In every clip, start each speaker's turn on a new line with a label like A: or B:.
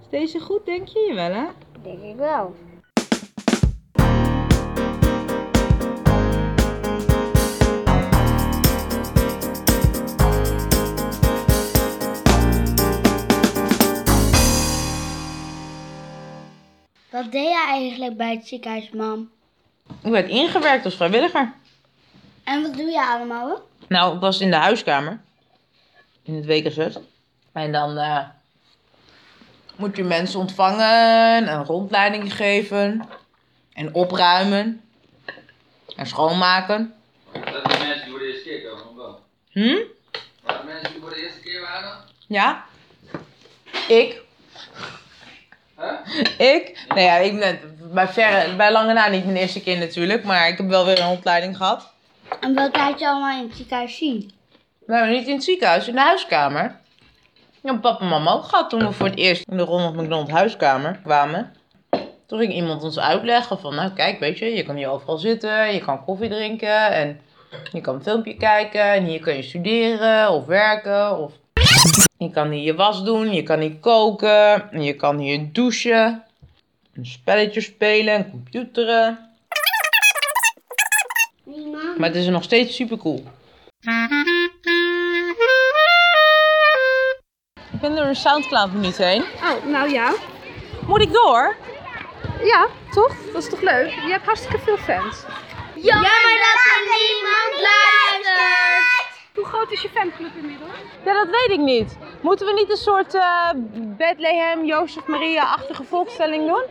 A: Is deze goed, denk je wel, hè?
B: Denk ik wel. Wat deed jij eigenlijk bij het ziekenhuis, mam?
A: Ik werd ingewerkt als vrijwilliger.
B: En wat doe je allemaal? hoor?
A: Nou, ik was in de huiskamer. In het wekenzus. En dan eh, moet je mensen ontvangen, een rondleiding geven, en opruimen, en schoonmaken.
C: Dat de mensen die voor de eerste keer komen, of wel?
A: Hm?
C: Waren de mensen die voor de eerste keer waren?
A: Ja? Ik?
C: Huh?
A: Ik? Nou ja, ik ben bij, verre, bij lange na niet mijn eerste keer natuurlijk, maar ik heb wel weer een opleiding gehad.
B: En wat laat je allemaal in het ziekenhuis zien?
A: Maar niet in het ziekenhuis, in de huiskamer. Ja, papa en mama ook gehad toen we voor het eerst in de Ronald McDonald huiskamer kwamen. Toen ging iemand ons uitleggen van, nou kijk, weet je, je kan hier overal zitten, je kan koffie drinken en je kan een filmpje kijken en hier kun je studeren of werken of... Je kan hier je was doen, je kan hier koken, en je kan hier douchen, een spelletje spelen, computeren.
B: Nee, mam.
A: Maar het is nog steeds super cool. Ik ben door een Soundcloud minuut heen.
D: Oh, nou ja.
A: Moet ik door?
D: Ja, toch? Dat is toch leuk? Je hebt hartstikke veel fans.
B: Jammer dat er niemand luistert!
D: Hoe groot is je fanclub inmiddels?
A: Ja, dat weet ik niet. Moeten we niet een soort eh Bethlehem, Jozef Maria-achtige volkstelling doen?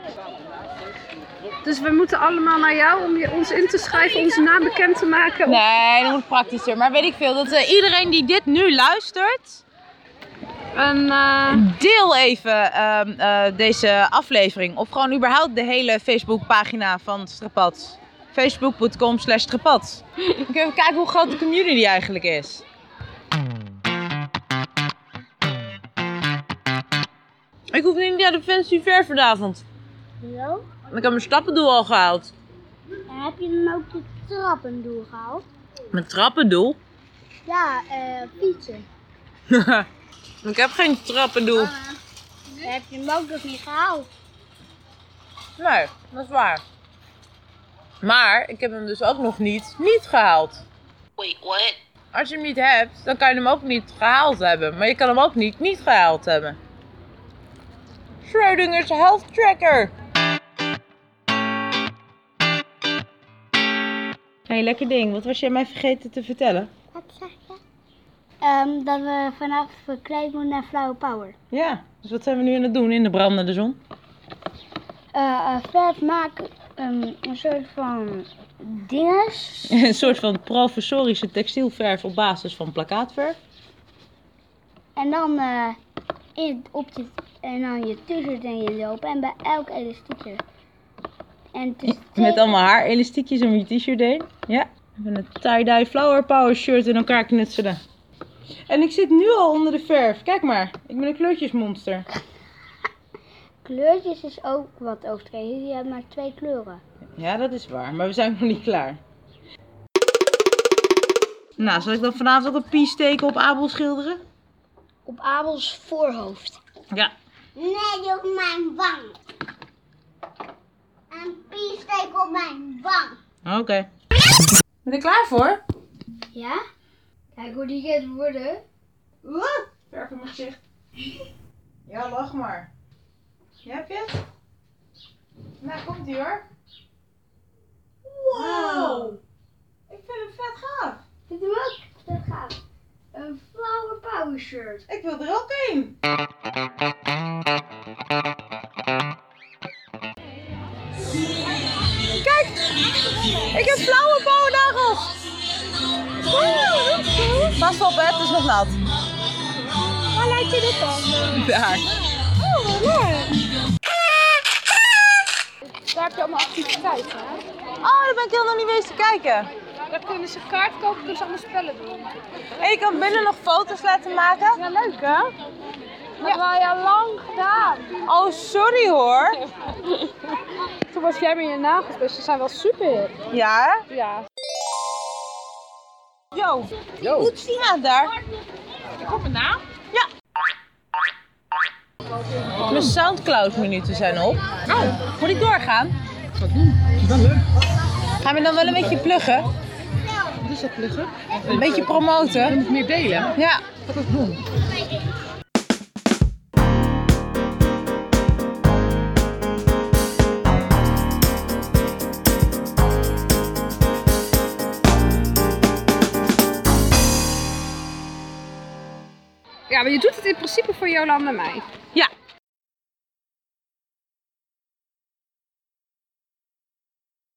D: Dus we moeten allemaal naar jou om je, ons in te schrijven, onze naam bekend te maken.
A: Nee, dat moet praktischer. Maar weet ik veel, dat eh, iedereen die dit nu luistert,
D: En eh,
A: deel even ehm, eh, deze aflevering. Of gewoon überhaupt de hele Facebookpagina van Strapad. Facebook.com slash Strapad. Dan kunnen we even kijken hoe groot de community eigenlijk is. Ik hoef niet naar de fancy ver vanavond.
B: Hallo?
A: Ik heb mijn stappendoel al gehaald.
B: En heb je dan ook je trappendoel gehaald?
A: Mijn trappendoel?
B: Ja, eh, fietsen.
A: ik heb geen trappendoel.
B: Heb je hem ook nog niet gehaald?
A: Nee, dat is waar. Maar ik heb hem dus ook nog niet, niet gehaald. Wait, what? Als je hem niet hebt, dan kan je hem ook niet gehaald hebben. Maar je kan hem ook niet niet gehaald hebben. Schrodinger's Health Tracker. Hé, hey, lekker ding. Wat was jij mij vergeten te vertellen?
B: Wat zeg je? Ehm, dat we vanaf verkleed moeten naar Flower Power.
A: Ja, dus wat zijn we nu aan het doen in de brandende zon?
B: Eh eh, verf maken ehm, een soort van dinges.
A: Een soort van professorische textielverf op basis van plakkaatverf.
B: En dan eh, in, op je, en dan je t-shirt en je lopen. En bij elk elastiekje. En het is
A: Met
B: twee-
A: allemaal haar elastiekjes om je t-shirt heen. Ja. Even een tie-dye flower power shirt in elkaar knutselen. En ik zit nu al onder de verf. Kijk maar. Ik ben een kleurtjesmonster.
B: Kleurtjes is ook wat overdreven. Je hebt maar twee kleuren.
A: Ja, dat is waar. Maar we zijn nog niet klaar. Nou, zal ik dan vanavond ook een pie steken op Abel schilderen?
B: Op Abels voorhoofd.
A: Ja.
B: Nee, op mijn wang. Een piesteek op mijn wang.
A: Oké. Ben je er klaar voor?
B: Ja? Kijk hoe die gaat worden. Wat?
A: Verf in mijn gezicht. Ja, lach maar. Heb je het? Nou, komt ie hoor. Wow! Ik vind hem vet gaaf.
B: Dit doe ik. Dat gaat. Een flower power shirt.
A: Ik wil er ook een. Kijk, ik heb blauwe pauwennagels. Woe! Pas op, hè, het is nog nat.
B: Waar laat je dit dan?
A: Daar.
D: daar heb je allemaal activiteiten. Hè?
A: Oh, daar ben ik helemaal niet eens te kijken.
D: Daar kunnen ze kaart kopen, kunnen ze allemaal spellen doen.
A: En je kan binnen nog foto's laten maken.
D: Ja, leuk hè? Dat hebben wij al lang gedaan.
A: Oh, sorry hoor.
D: Toen was jij met je nagels, dus ze zijn wel super hip.
A: Ja?
D: Ja.
A: Yo. Yo. Hoe zie je daar?
D: Ik op een naam?
A: Ja. Mijn Soundcloud-minuten zijn op. Oh, moet ik doorgaan?
D: Wat doen? Dan leuk.
A: Gaan we dan wel een beetje pluggen?
D: Wat is dat pluggen?
A: Een beetje
D: Je
A: promoten?
D: moet meer delen.
A: Ja.
D: Wat dat doen? Ja, maar je doet het in principe voor Jolanda en mij.
A: Ja,